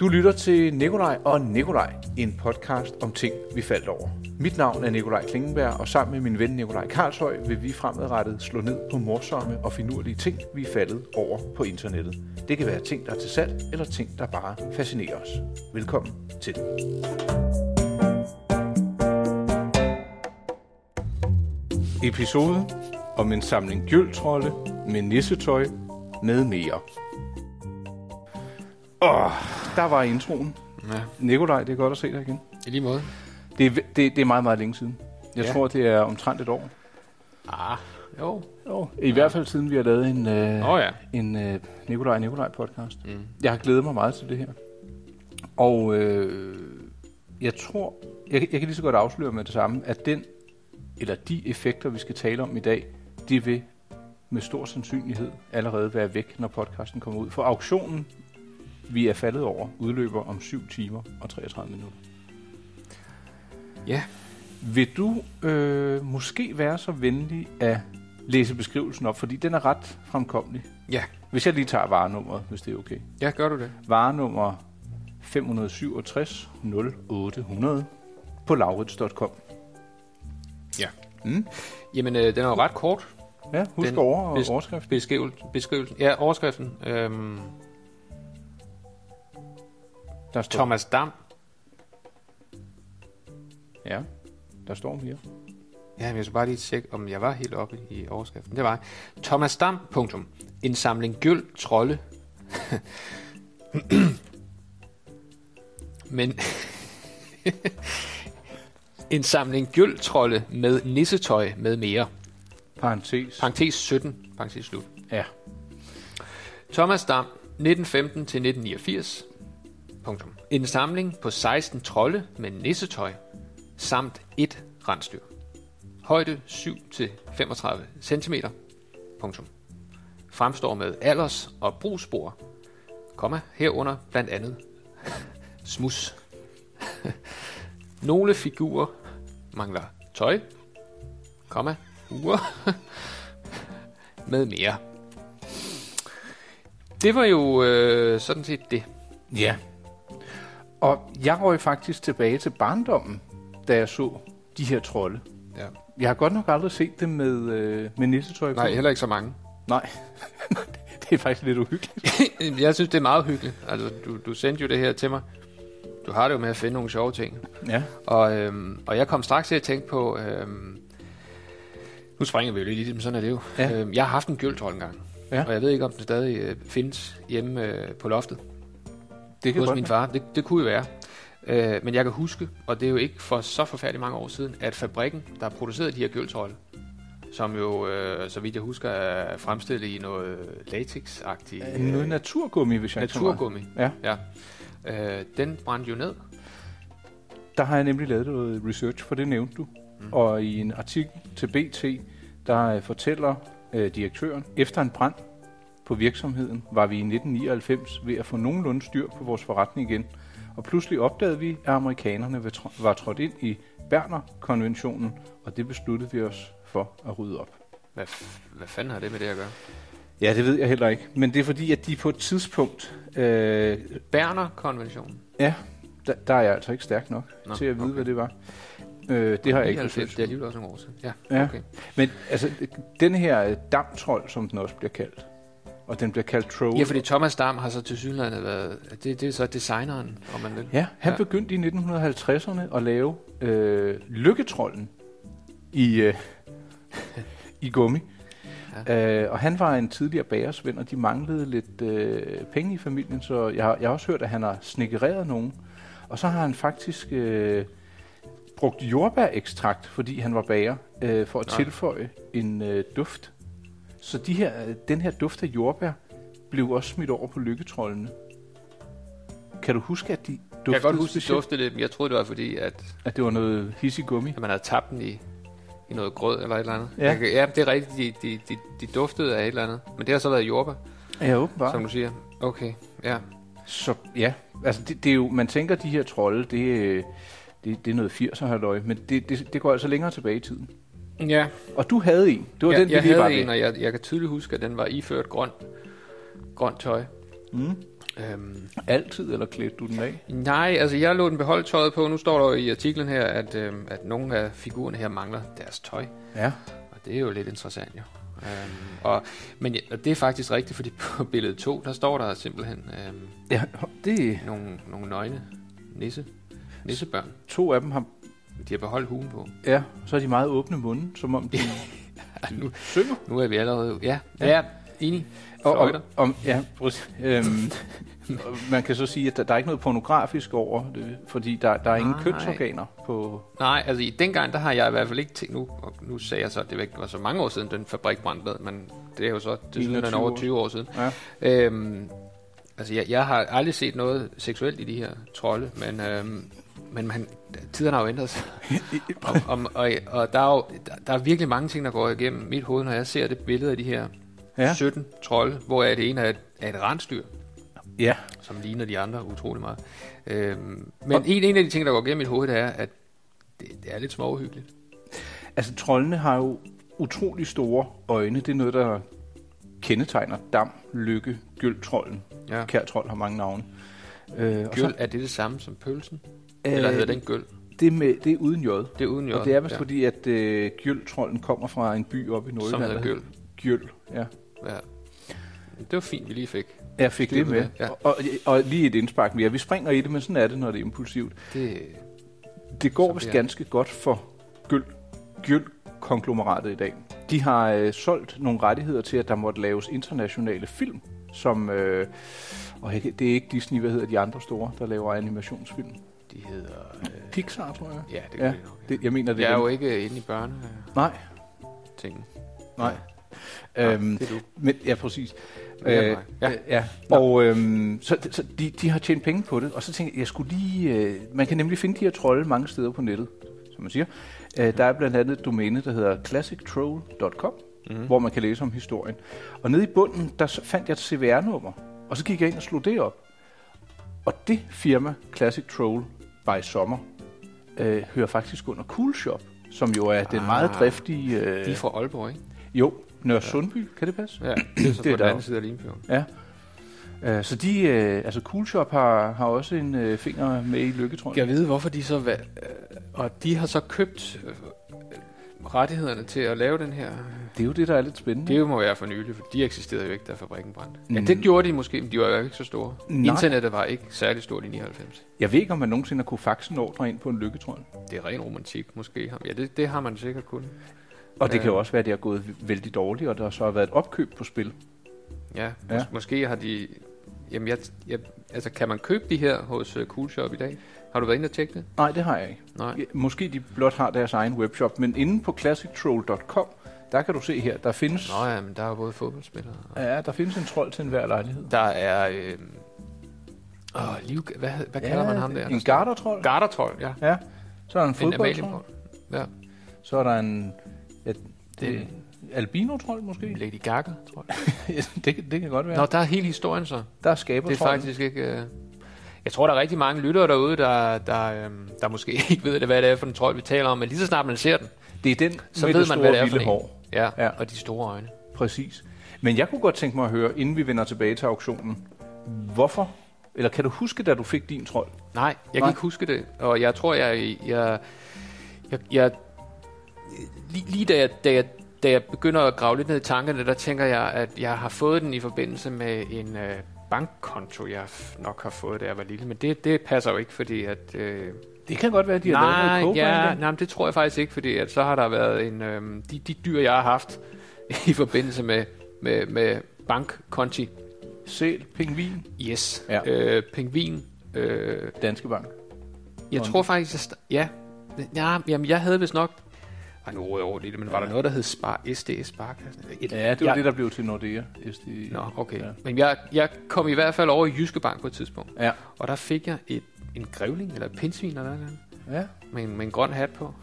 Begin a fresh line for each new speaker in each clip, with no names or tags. Du lytter til Nikolaj og Nikolaj, en podcast om ting, vi faldt over. Mit navn er Nikolaj Klingenberg, og sammen med min ven Nikolaj Karlshøj vil vi fremadrettet slå ned på morsomme og finurlige ting, vi er faldet over på internettet. Det kan være ting, der er til salg, eller ting, der bare fascinerer os. Velkommen til. Episoden om en samling gyldtrolde med nissetøj med mere. Åh, der var introen.
Ja,
Nikolaj, det er godt at se dig igen.
i lige måde.
Det er, det, det er meget, meget længe siden. Jeg ja.
Ja.
tror, det er omtrent et år.
Ah, jo.
Jo. I hvert fald siden vi har lavet en, øh,
Åh oh, ja.
en øh, Nikolaj og Nikolaj podcast.
Mm.
Jeg har glædet mig meget til det her. Og øh, jeg tror, jeg, jeg kan lige så godt afsløre med det samme, at den eller de effekter, vi skal tale om i dag, de vil med stor sandsynlighed allerede være væk, når podcasten kommer ud. For auktionen, vi er faldet over, udløber om 7 timer og 33 minutter.
Ja.
Vil du øh, måske være så venlig at læse beskrivelsen op, fordi den er ret fremkommelig.
Ja.
Hvis jeg lige tager varenummeret, hvis det er okay.
Ja, gør du det?
Varenummer 567 0800 på laurits.com.
Ja.
Mm.
Jamen, øh, den er jo ret kort,
Ja, husk
Den-
over og
hvis-
overskrift.
beskrivel- beskrivelsen. Ja, overskriften. Øhm,
Der står,
Thomas Dam.
Ja, der står mere.
Ja, men jeg skal bare lige tjekke, om jeg var helt oppe i overskriften. Det var jeg. Thomas Dam, punktum. En samling gyld trolde. Men... en samling gyld trolde med nissetøj med mere.
Parentes.
Parentes 17, parentes slut.
Ja.
Thomas Dam, 1915 til 1989. Punktum. En samling på 16 trolde med nissetøj, samt et rensdyr. Højde 7 til 35 cm. Punktum. Fremstår med alders- og brugsspor, komma, herunder blandt andet smus. Nogle figurer mangler tøj, komma, uger, med mere. Det var jo øh, sådan set det.
Ja. Og jeg røg faktisk tilbage til barndommen, da jeg så de her trolde.
Ja.
Jeg har godt nok aldrig set dem med, øh, med nissetøj på.
Nej, heller ikke så mange.
Nej. det er faktisk lidt uhyggeligt.
jeg synes, det er meget hyggeligt. Altså, du, du sendte jo det her til mig. Du har det jo med at finde nogle sjove ting.
Ja.
Og, øhm, og jeg kom straks til at tænke på... Øhm, nu springer vi jo lidt i det, men sådan er det jo.
Ja.
Øhm, jeg har haft en gyldtrold engang.
Ja.
Og jeg ved ikke, om den stadig øh, findes hjemme øh, på loftet
Det kan
hos
godt
min
være.
far. Det, det kunne jo være. Øh, men jeg kan huske, og det er jo ikke for så forfærdelig mange år siden, at fabrikken, der producerede de her gyldtrolde, som jo, øh, så vidt jeg husker, er fremstillet i noget latex-agtigt øh,
Noget naturgummi, hvis jeg ikke tager meget.
naturgummi.
Ja.
ja. Øh, den brændte jo ned.
Der har jeg nemlig lavet noget research, for det nævnte du. Mm. Og i en artikel til BT, der øh, fortæller øh, direktøren, efter en brand på virksomheden, var vi i 1999 ved at få nogenlunde styr på vores forretning igen. Og pludselig opdagede vi, at amerikanerne var tr- var trådt ind i Berner-konventionen, og det besluttede vi os for at rydde op.
Hvad, f- hvad fanden har det med det at gøre?
Ja, det ved jeg heller ikke. Men det er fordi, at de på et tidspunkt... Øh,
Berner-konventionen.
ja, der, der er jeg altså ikke stærk nok Nå,
Nå,
til at vide, okay.
okay.
hvad det var. Øh, det har jeg ikke
99,
forsøgt.
Det er alligevel også nogle år siden. Ja,
Ja.
okay.
Men altså, den her øh, damptrold, som den også bliver kaldt, og den bliver kaldt troll.
Ja, fordi Thomas Dam har så til synligheden været... Det, det er så designeren, om man vil.
ja han ja.
Ja.
begyndte i 1950'erne at lave øh, lykketrollen i, øh, i gummi. Ja. Øh, og han var en tidligere bagersvend, og de manglede lidt øh, penge i familien, så jeg har, jeg har også hørt, at han har snikkereret nogen. Og så har han faktisk øh, brugt jordbærekstrakt, fordi han var bager, øh, for at
Nå.
tilføje en øh, duft. Så de her, øh, den her duft af jordbær blev også smidt over på lykketrollene. Kan du huske, at de duftede
Jeg kan godt huske, det
specielt?
duftede lidt, men jeg troede, det var fordi, at
At det var noget hissig gummi?
at man havde tabt den i, i noget grød eller et eller andet.
Ja.
Jeg kan- ja det er rigtigt. De, de, de, de duftede af et eller andet. Men det har så været jordbær,
Ja, åbenbart.
som du siger. Okay, ja.
Så ja, altså det, det er jo, man tænker, de her trolde, det, øh, det, det er noget 80'er halløj, men det, det, det går altså længere tilbage i tiden.
Ja,
Og du havde en. Det var
jeg,
den, vi
jeg
lige var
havde
ved.
en, og jeg, jeg kan tydeligt huske, at den var iført grøn, grønt tøj.
Mm.
Øhm,
Altid, eller klædte du den af?
nej, altså jeg lå den beholdt tøjet på. Nu står der jo i artiklen her, at, øhm, at nogle af figurerne her mangler deres tøj.
Ja.
Og det er jo lidt interessant jo. Øhm, og, men ja, og det er faktisk rigtigt, fordi på billede 2, der står der simpelthen øhm,
ja det,
nogle, nogle nøgne nisse, nissebørn.
to af dem har...
De har beholdt hugen på.
Ja, så er de meget åbne munden, som om de, de synger.
Nu er vi allerede... Ja, ja, ja enig.
Og, og,
Fløjter.
om, ja, præcis. Øhm, og man kan så sige, at der, der er ikke noget pornografisk over det, fordi der, der er ingen
Nej.
kønsorganer på...
Nej, altså i dengang, der har jeg i hvert fald ikke tænkt nu, og nu sagde jeg så, at det ikke var så mange år siden, den fabrik brændte ned, men det er jo så det er
21
over
år.
20 år siden.
Ja.
Øhm, altså jeg, jeg har aldrig set noget seksuelt i de her trolde, men, øhm, men man, tiderne har jo ændret sig. og, og, og, og der er jo der, der er virkelig mange ting, der går igennem mit hoved, når jeg ser det billede af de her
Ja.
ja. 17 trolde, hvor er det ene er et, er et rensdyr,
ja,
som ligner de andre utrolig meget. Øhm, men en, en af de ting, der går igennem mit hoved, det er, at det, det er lidt småhyggeligt.
altså troldene har jo utrolig store øjne. Det er noget, der kendetegner Dam, Lykke, Gyld-trolden.
Ja.
Kær trold har mange navne. Øh, og
Gøl, er det det samme som pølsen?
Øh,
Øh, Eller hedder den gøl?
det, med, det er uden jod.
Det er uden jord.
Og det er vist ja. fordi, at øh, Gyld-trolden kommer fra en by oppe i Nordjylland.
Som hedder
der
gøl.
Gyld, ja.
Ja. Det var fint, vi lige fik.
Jeg fik
Styr
det
på
med.
det, ja.
Og, og lige et indspark mere. Vi springer i det, men sådan er det, når det er impulsivt.
Det,
Det går
Som
vist
det er.
ganske godt for gyld, gyld-konglomeratet i dag. De har øh, solgt nogle rettigheder til, at der måtte laves internationale film, som... Øh, og jeg kan- det er ikke Disney, hvad hedder de andre store, der laver animationsfilm.
de hedder... Øh,
Pixar, tror jeg.
ja, det
Ja,
kan vi nok. Ja.
Det, jeg mener, det
jeg
er
er
dem.
jo ikke inde i børnetingen.
Nej, nej.
Ja,
Øhm,
det er du.
men, ja, præcis.
Det er
Øh,
mig.
ja.
Ja.
ja. Og øhm, så, så de, de har tjent penge på det, og så tænkte jeg, jeg skulle lige... Øh, man kan nemlig finde de her trolde mange steder på nettet, som man siger. Øh, der er blandt andet et domæne, der hedder classictroll.com,
øh, Mhm.
mm. hvor man kan læse om historien. Og nede i bunden, der så fandt jeg et CVR-nummer, og så gik jeg ind og slog det op. Og det firma, Classic Troll by Sommer, øh, hører faktisk under Cool Shop, som jo er den meget
Ah,
driftige... Øh,
De er fra Aalborg, ikke?
jo, Nør Sundby, kan det passe?
Ja, det er så
Det er
på den
der.
anden side af Limfjorden.
Ja. Øh, Så de, øh, altså Cool Shop har, har også en øh, finger med i lykketråden.
Jeg ved, hvorfor de så... Valg, øh, og de har så købt øh, rettighederne til at lave den her.
Det er jo det, der er lidt spændende.
Det må være for nylig, for de eksisterede jo ikke, da fabrikken brændte. Ja,
Mm.
det gjorde de måske, men de var jo ikke så store.
Nej.
Internettet var ikke særlig stort i 99.
Mm. Jeg ved ikke, om man nogensinde har kunne faxe en ordre ind på en lykketråd.
Det er ren romantik, måske. Ja, det, det har man sikkert kun.
Og det
Ja.
kan jo også være, at det har gået vældig dårligt, og der så har været et opkøb på spil.
Ja, mås-
Ja.
måske har de... Jamen, jeg, jeg, altså, kan man købe de her hos uh, Cool Shop i dag? Har du været inde og tjekke det?
Nej, det har jeg ikke.
Nej.
Ja, Måske de blot har deres egen webshop, men inde på classictroll.com, der kan du se her, der findes,
Nå ja, men der er både fodboldspillere... Og
ja, der findes en trold til enhver lejlighed.
der er... Øh, åh, liv, hvad, hvad kalder man ham der?
En gardertrold.
Gardertrol, ja.
Ja. Så er der en
En
fodboldtrold.
amalienborg. Ja,
Så er der en ja,
det
det, albino-trold måske.
er Lady Gaga, tror jeg.
Ja, det, kan- det kan godt være.
Nå, der er hele historien så.
der er skaber
Det er faktisk ikke... Øh, jeg tror, der er rigtig mange lyttere derude, der, der, øh, der måske ikke ved, hvad det er for en trold, vi taler om, men lige så snart man ser den,
Det er den
så
med
ved
det
man,
store
hvad det er for
vilde
en.
hår.
Ja,
Ja.
ja, og de store øjne.
Præcis. Men jeg kunne godt tænke mig at høre, inden vi vender tilbage til auktionen, hvorfor, eller kan du huske, da du fik din trold?
Nej, jeg Nej.
Nej.
kan ikke huske det, og jeg tror, jeg... jeg, jeg, jeg lige, lige da jeg, da jeg da jeg begynder at grave lidt ned i tankerne, der tænker jeg, at jeg har fået den i forbindelse med en øh, bankkonto, jeg f- nok har fået, da jeg var lille. Men det, det passer jo ikke, fordi at... Øh,
Det kan godt være, at de har lavet
Nej,
noget
ja,
igen.
nej, men det tror jeg faktisk ikke, fordi at så har der været en, øhm, de, de dyr, jeg har haft i forbindelse med, med, med bankkonti.
Sæl, pingvin,
Yes.
Ja.
Øh, pingvin. Øh,
Danske Bank.
jeg
Konti.
tror faktisk, jeg sta- ja. ja jamen, jeg havde vist nok... Ej, nu råder jeg over lidt, men var der noget, der hed Spar, SDS Sparkassen? Et-
Ja, det var
jeg-
det, der blev til Nordea. SD.
Nå, okay.
Ja.
Ja. Men jeg, jeg kom i hvert fald over i Jyske Bank på et tidspunkt,
Ja.
og der fik jeg et, en grævling, eller et pindsvin, eller noget
ja.
med en, med en grøn hat på.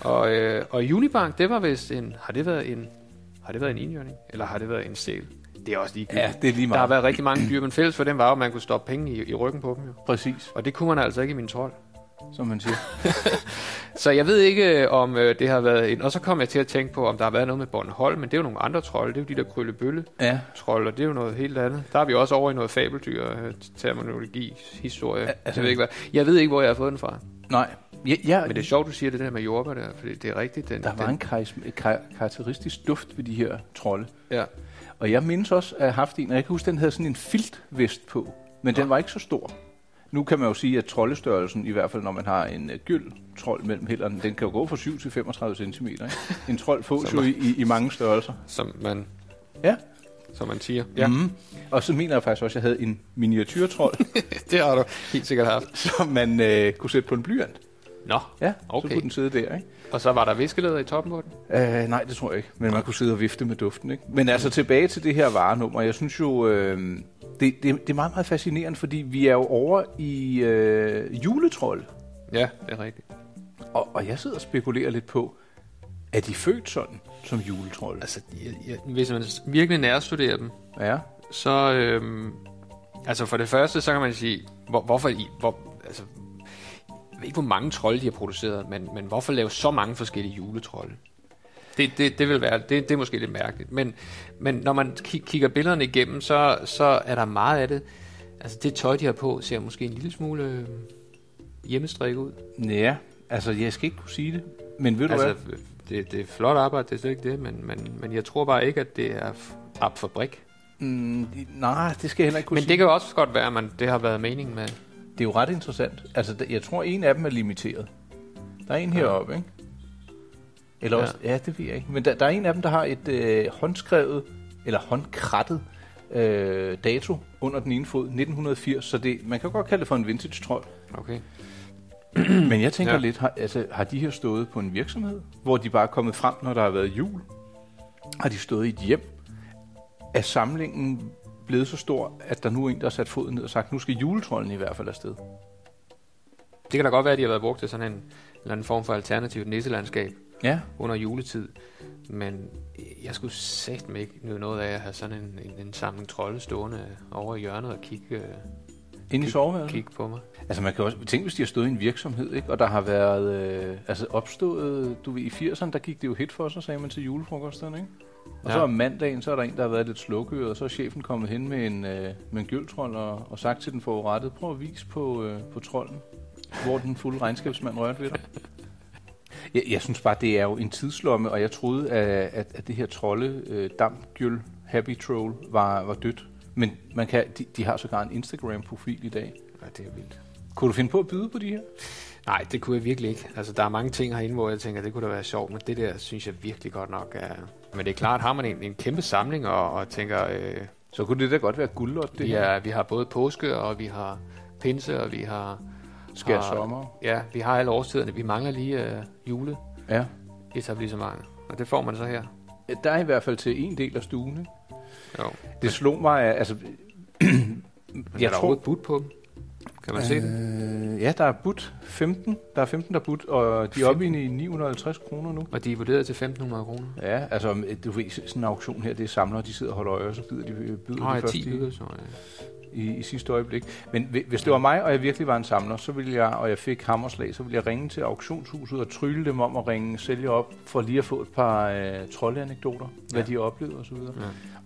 Og, øh, og Unibank, det var vist en... Har det været en... Har det været en indjørning? Eller har det været en sæl? Det er også ligegyldigt.
Ja, det er lige
der har
meget.
været rigtig mange dyr, men fælles for dem var jo, at man kunne stoppe penge i, i ryggen på dem. Jo.
Præcis,
Og det kunne man altså ikke i min trold.
som man siger.
Så jeg ved ikke, om øh, det har været en... Og så kom jeg til at tænke på, om der har været noget med Bornholm, men det er jo nogle andre trolde. Det er jo de der krøllebølle
Ja.
trolde, og det er jo noget helt andet. Der er vi også over i noget fabeldyr, øh, terminologi, historie.
altså-
Altså, jeg, ved ikke, hvad. jeg ved ikke, hvor jeg har fået den fra.
Nej. Ja, ja,
Men det er sjovt, du siger det der med jordbær der, for det er rigtigt. Den,
der var
den,
en karis- kar- karakteristisk duft ved de her trolde.
Ja.
Og jeg mindes også at have haft en, og jeg kan huske, den havde sådan en filtvest på, men den var ikke så stor. Nu kan man jo sige, at troldestørrelsen, i hvert fald når man har en øh, gyld trold mellem hænderne, den kan jo gå fra 7 til 35 cm. Ikke? En trold fås jo i, i, i mange størrelser.
Som man,
Ja.
som man siger.
ja. Mm. Og så mener jeg faktisk også, at jeg havde en miniatyrtrold,
det har du helt sikkert haft.
som man øh, kunne sætte på en blyant.
Nå,
Ja, okay. så
Okay.
kunne den sidde der. Ikke?
og så var der viskelæder i toppen på den.
Øh, nej, det tror jeg ikke. Men man kunne sidde og vifte med duften. Ikke? Men altså tilbage til det her varenummer. Jeg synes jo, øh, det, det, det er meget, meget fascinerende, fordi vi er jo over i øh, juletrold.
Ja, det er rigtigt.
Og, og jeg sidder og spekulerer lidt på, er de født sådan som juletrold?
Altså, jeg, jeg, hvis man s- virkelig nærstuderer dem,
Ja,
så... Øhm, altså, for det første, så kan man sige, hvor, hvorfor i... Hvor, altså, jeg ved ikke, hvor mange trolde de har produceret, men, men hvorfor lave så mange forskellige juletrolde? Det, det, det vil være, det, det er måske lidt mærkeligt, men, men når man ki- kigger billederne igennem, så, så er der meget af det. Altså det tøj, de har på, ser måske en lille smule øh, hjemmestrikket ud.
ja. altså jeg skal ikke kunne sige det. Men ved du hvad?
Altså, det, det er flot arbejde, det er slet ikke det, men, men, men jeg tror bare ikke, at det er f- op for brik.
Mm, nej, det skal jeg heller ikke kunne
Men
sige.
det kan jo også godt være, at man, det har været meningen med...
Det er jo ret interessant. Altså, der- jeg tror, en af dem er limiteret. Der er en heroppe, ikke? Eller
Ja.
også, ja, det ved jeg ikke. Men der, der er en af dem, der har et øh, håndskrevet, eller håndkrattet øh, dato under den ene fod, 1980. Så det, man kan jo godt kalde det for en vintage trold.
Okay.
Men jeg tænker ja.
Ja.
lidt, har, altså, har de her stået på en virksomhed, hvor de bare er kommet frem, når der har været jul? Har de stået i et hjem? Er samlingen blevet så stor, at der nu er en, der har sat foden ned og sagt, nu skal juletrolden i hvert fald afsted?
Det kan da godt være, at de har været brugt til sådan en eller anden form for alternativt nisselandskab
Ja,
under juletid. Men jeg skulle satme ikke nyde noget af at have sådan en, en, en samling trolde stående over i hjørnet og kigge, øh,
inde i soveværelset.
kigge på mig.
Altså man kan også tænke, hvis de har stået i en virksomhed, ikke? og der har været øh, altså opstået, du ved, i 80'erne, der gik det jo hit for sig, sagde man til julefrokosterne, ikke? Og ja. så
Ja.
om mandagen, så er der en, der har været lidt slukøret, og så er chefen kommet hen med en, øh, med en gyldtrold og, og sagt til den forurettede, prøv at vise på, øh, på trolden, hvor den fulde regnskabsmand rørte ved dig. Jeg, jeg synes bare, det er jo en tidslomme, og jeg troede, at, at, at det her trolde, øh, dampgyld, happy troll, var, var dødt. Men man kan, de, de har sågar en Instagram-profil i dag.
Ja, det er vildt.
Kunne du finde på at byde på de her?
Nej, det kunne jeg virkelig ikke. Altså, der er mange ting herinde, hvor jeg tænker, det kunne da være sjovt, men det der synes jeg virkelig godt nok er... Men det er klart, har man en, en kæmpe samling og, og tænker, øh,
Så kunne det da godt være guldlot, det
vi,
her.
er, vi har både påske, og vi har pinse, og vi har...
Skær
har-
sommer.
Ja, vi har alle årstiderne. Vi mangler lige øh,
Ja.
juleetablissementer, og det får man så her.
Der er i hvert fald til en del af stuen, ikke?
Jo.
Det slog mig, at- altså...
Men jeg er der overhovedet budt på dem? Kan man øh, se det?
Øh, ja, der er budt 15. Der er 15, der er budt, og de er oppe i 950 kroner nu.
Og de er vurderet til 1.500 kroner.
Ja, altså, om, øh, du ved, sådan en auktion her, det er samlere, de sidder og holder øje, og så byder de, øh, byder
Nå,
de
ja,
først
10
i,
lyder så. Ja.
i, i sidste øjeblik. Men hvi- hvis det var mig, og jeg virkelig var en samler, så ville jeg, og jeg fik hammerslag, så ville jeg ringe til auktionshuset og trylle dem om at ringe sælger op, for lige at få et par øh, troldeanekdoter, hvad
Ja.
de oplevede osv.
Ja.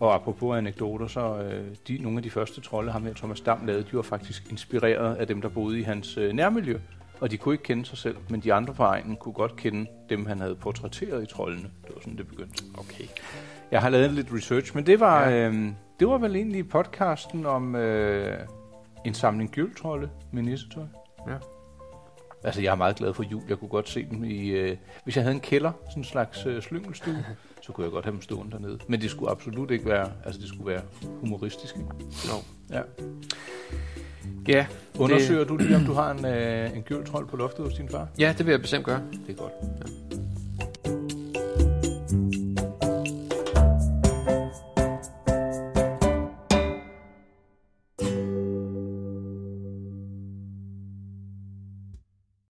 Og apropos anekdoter, så øh, de, nogle af de første trolde, ham her Thomas Dam lavede, de var faktisk inspireret af dem, der boede i hans øh, nærmiljø. Og de kunne ikke kende sig selv, men de andre på egnen kunne godt kende dem, han havde portrætteret i troldene. Det var sådan, det begyndte.
Okay.
Jeg har lavet lidt research, men det var, ja. øh, det var vel egentlig podcasten om øh, en samling gyldtrolde med nissetøj.
Ja.
Altså, jeg er meget glad for jul. Jeg kunne godt se dem i... Øh, hvis jeg havde en kælder, sådan en slags øh, slyngelstue, så kunne jeg godt have dem stående dernede. Men det skulle absolut ikke være... Altså, det skulle være humoristisk. Ikke?
No.
Ja.
Ja,
Undersøger det... du lige, om du har en, øh, en gyldtrold på loftet hos din far?
ja, det vil jeg bestemt gøre.
Det er godt. Ja.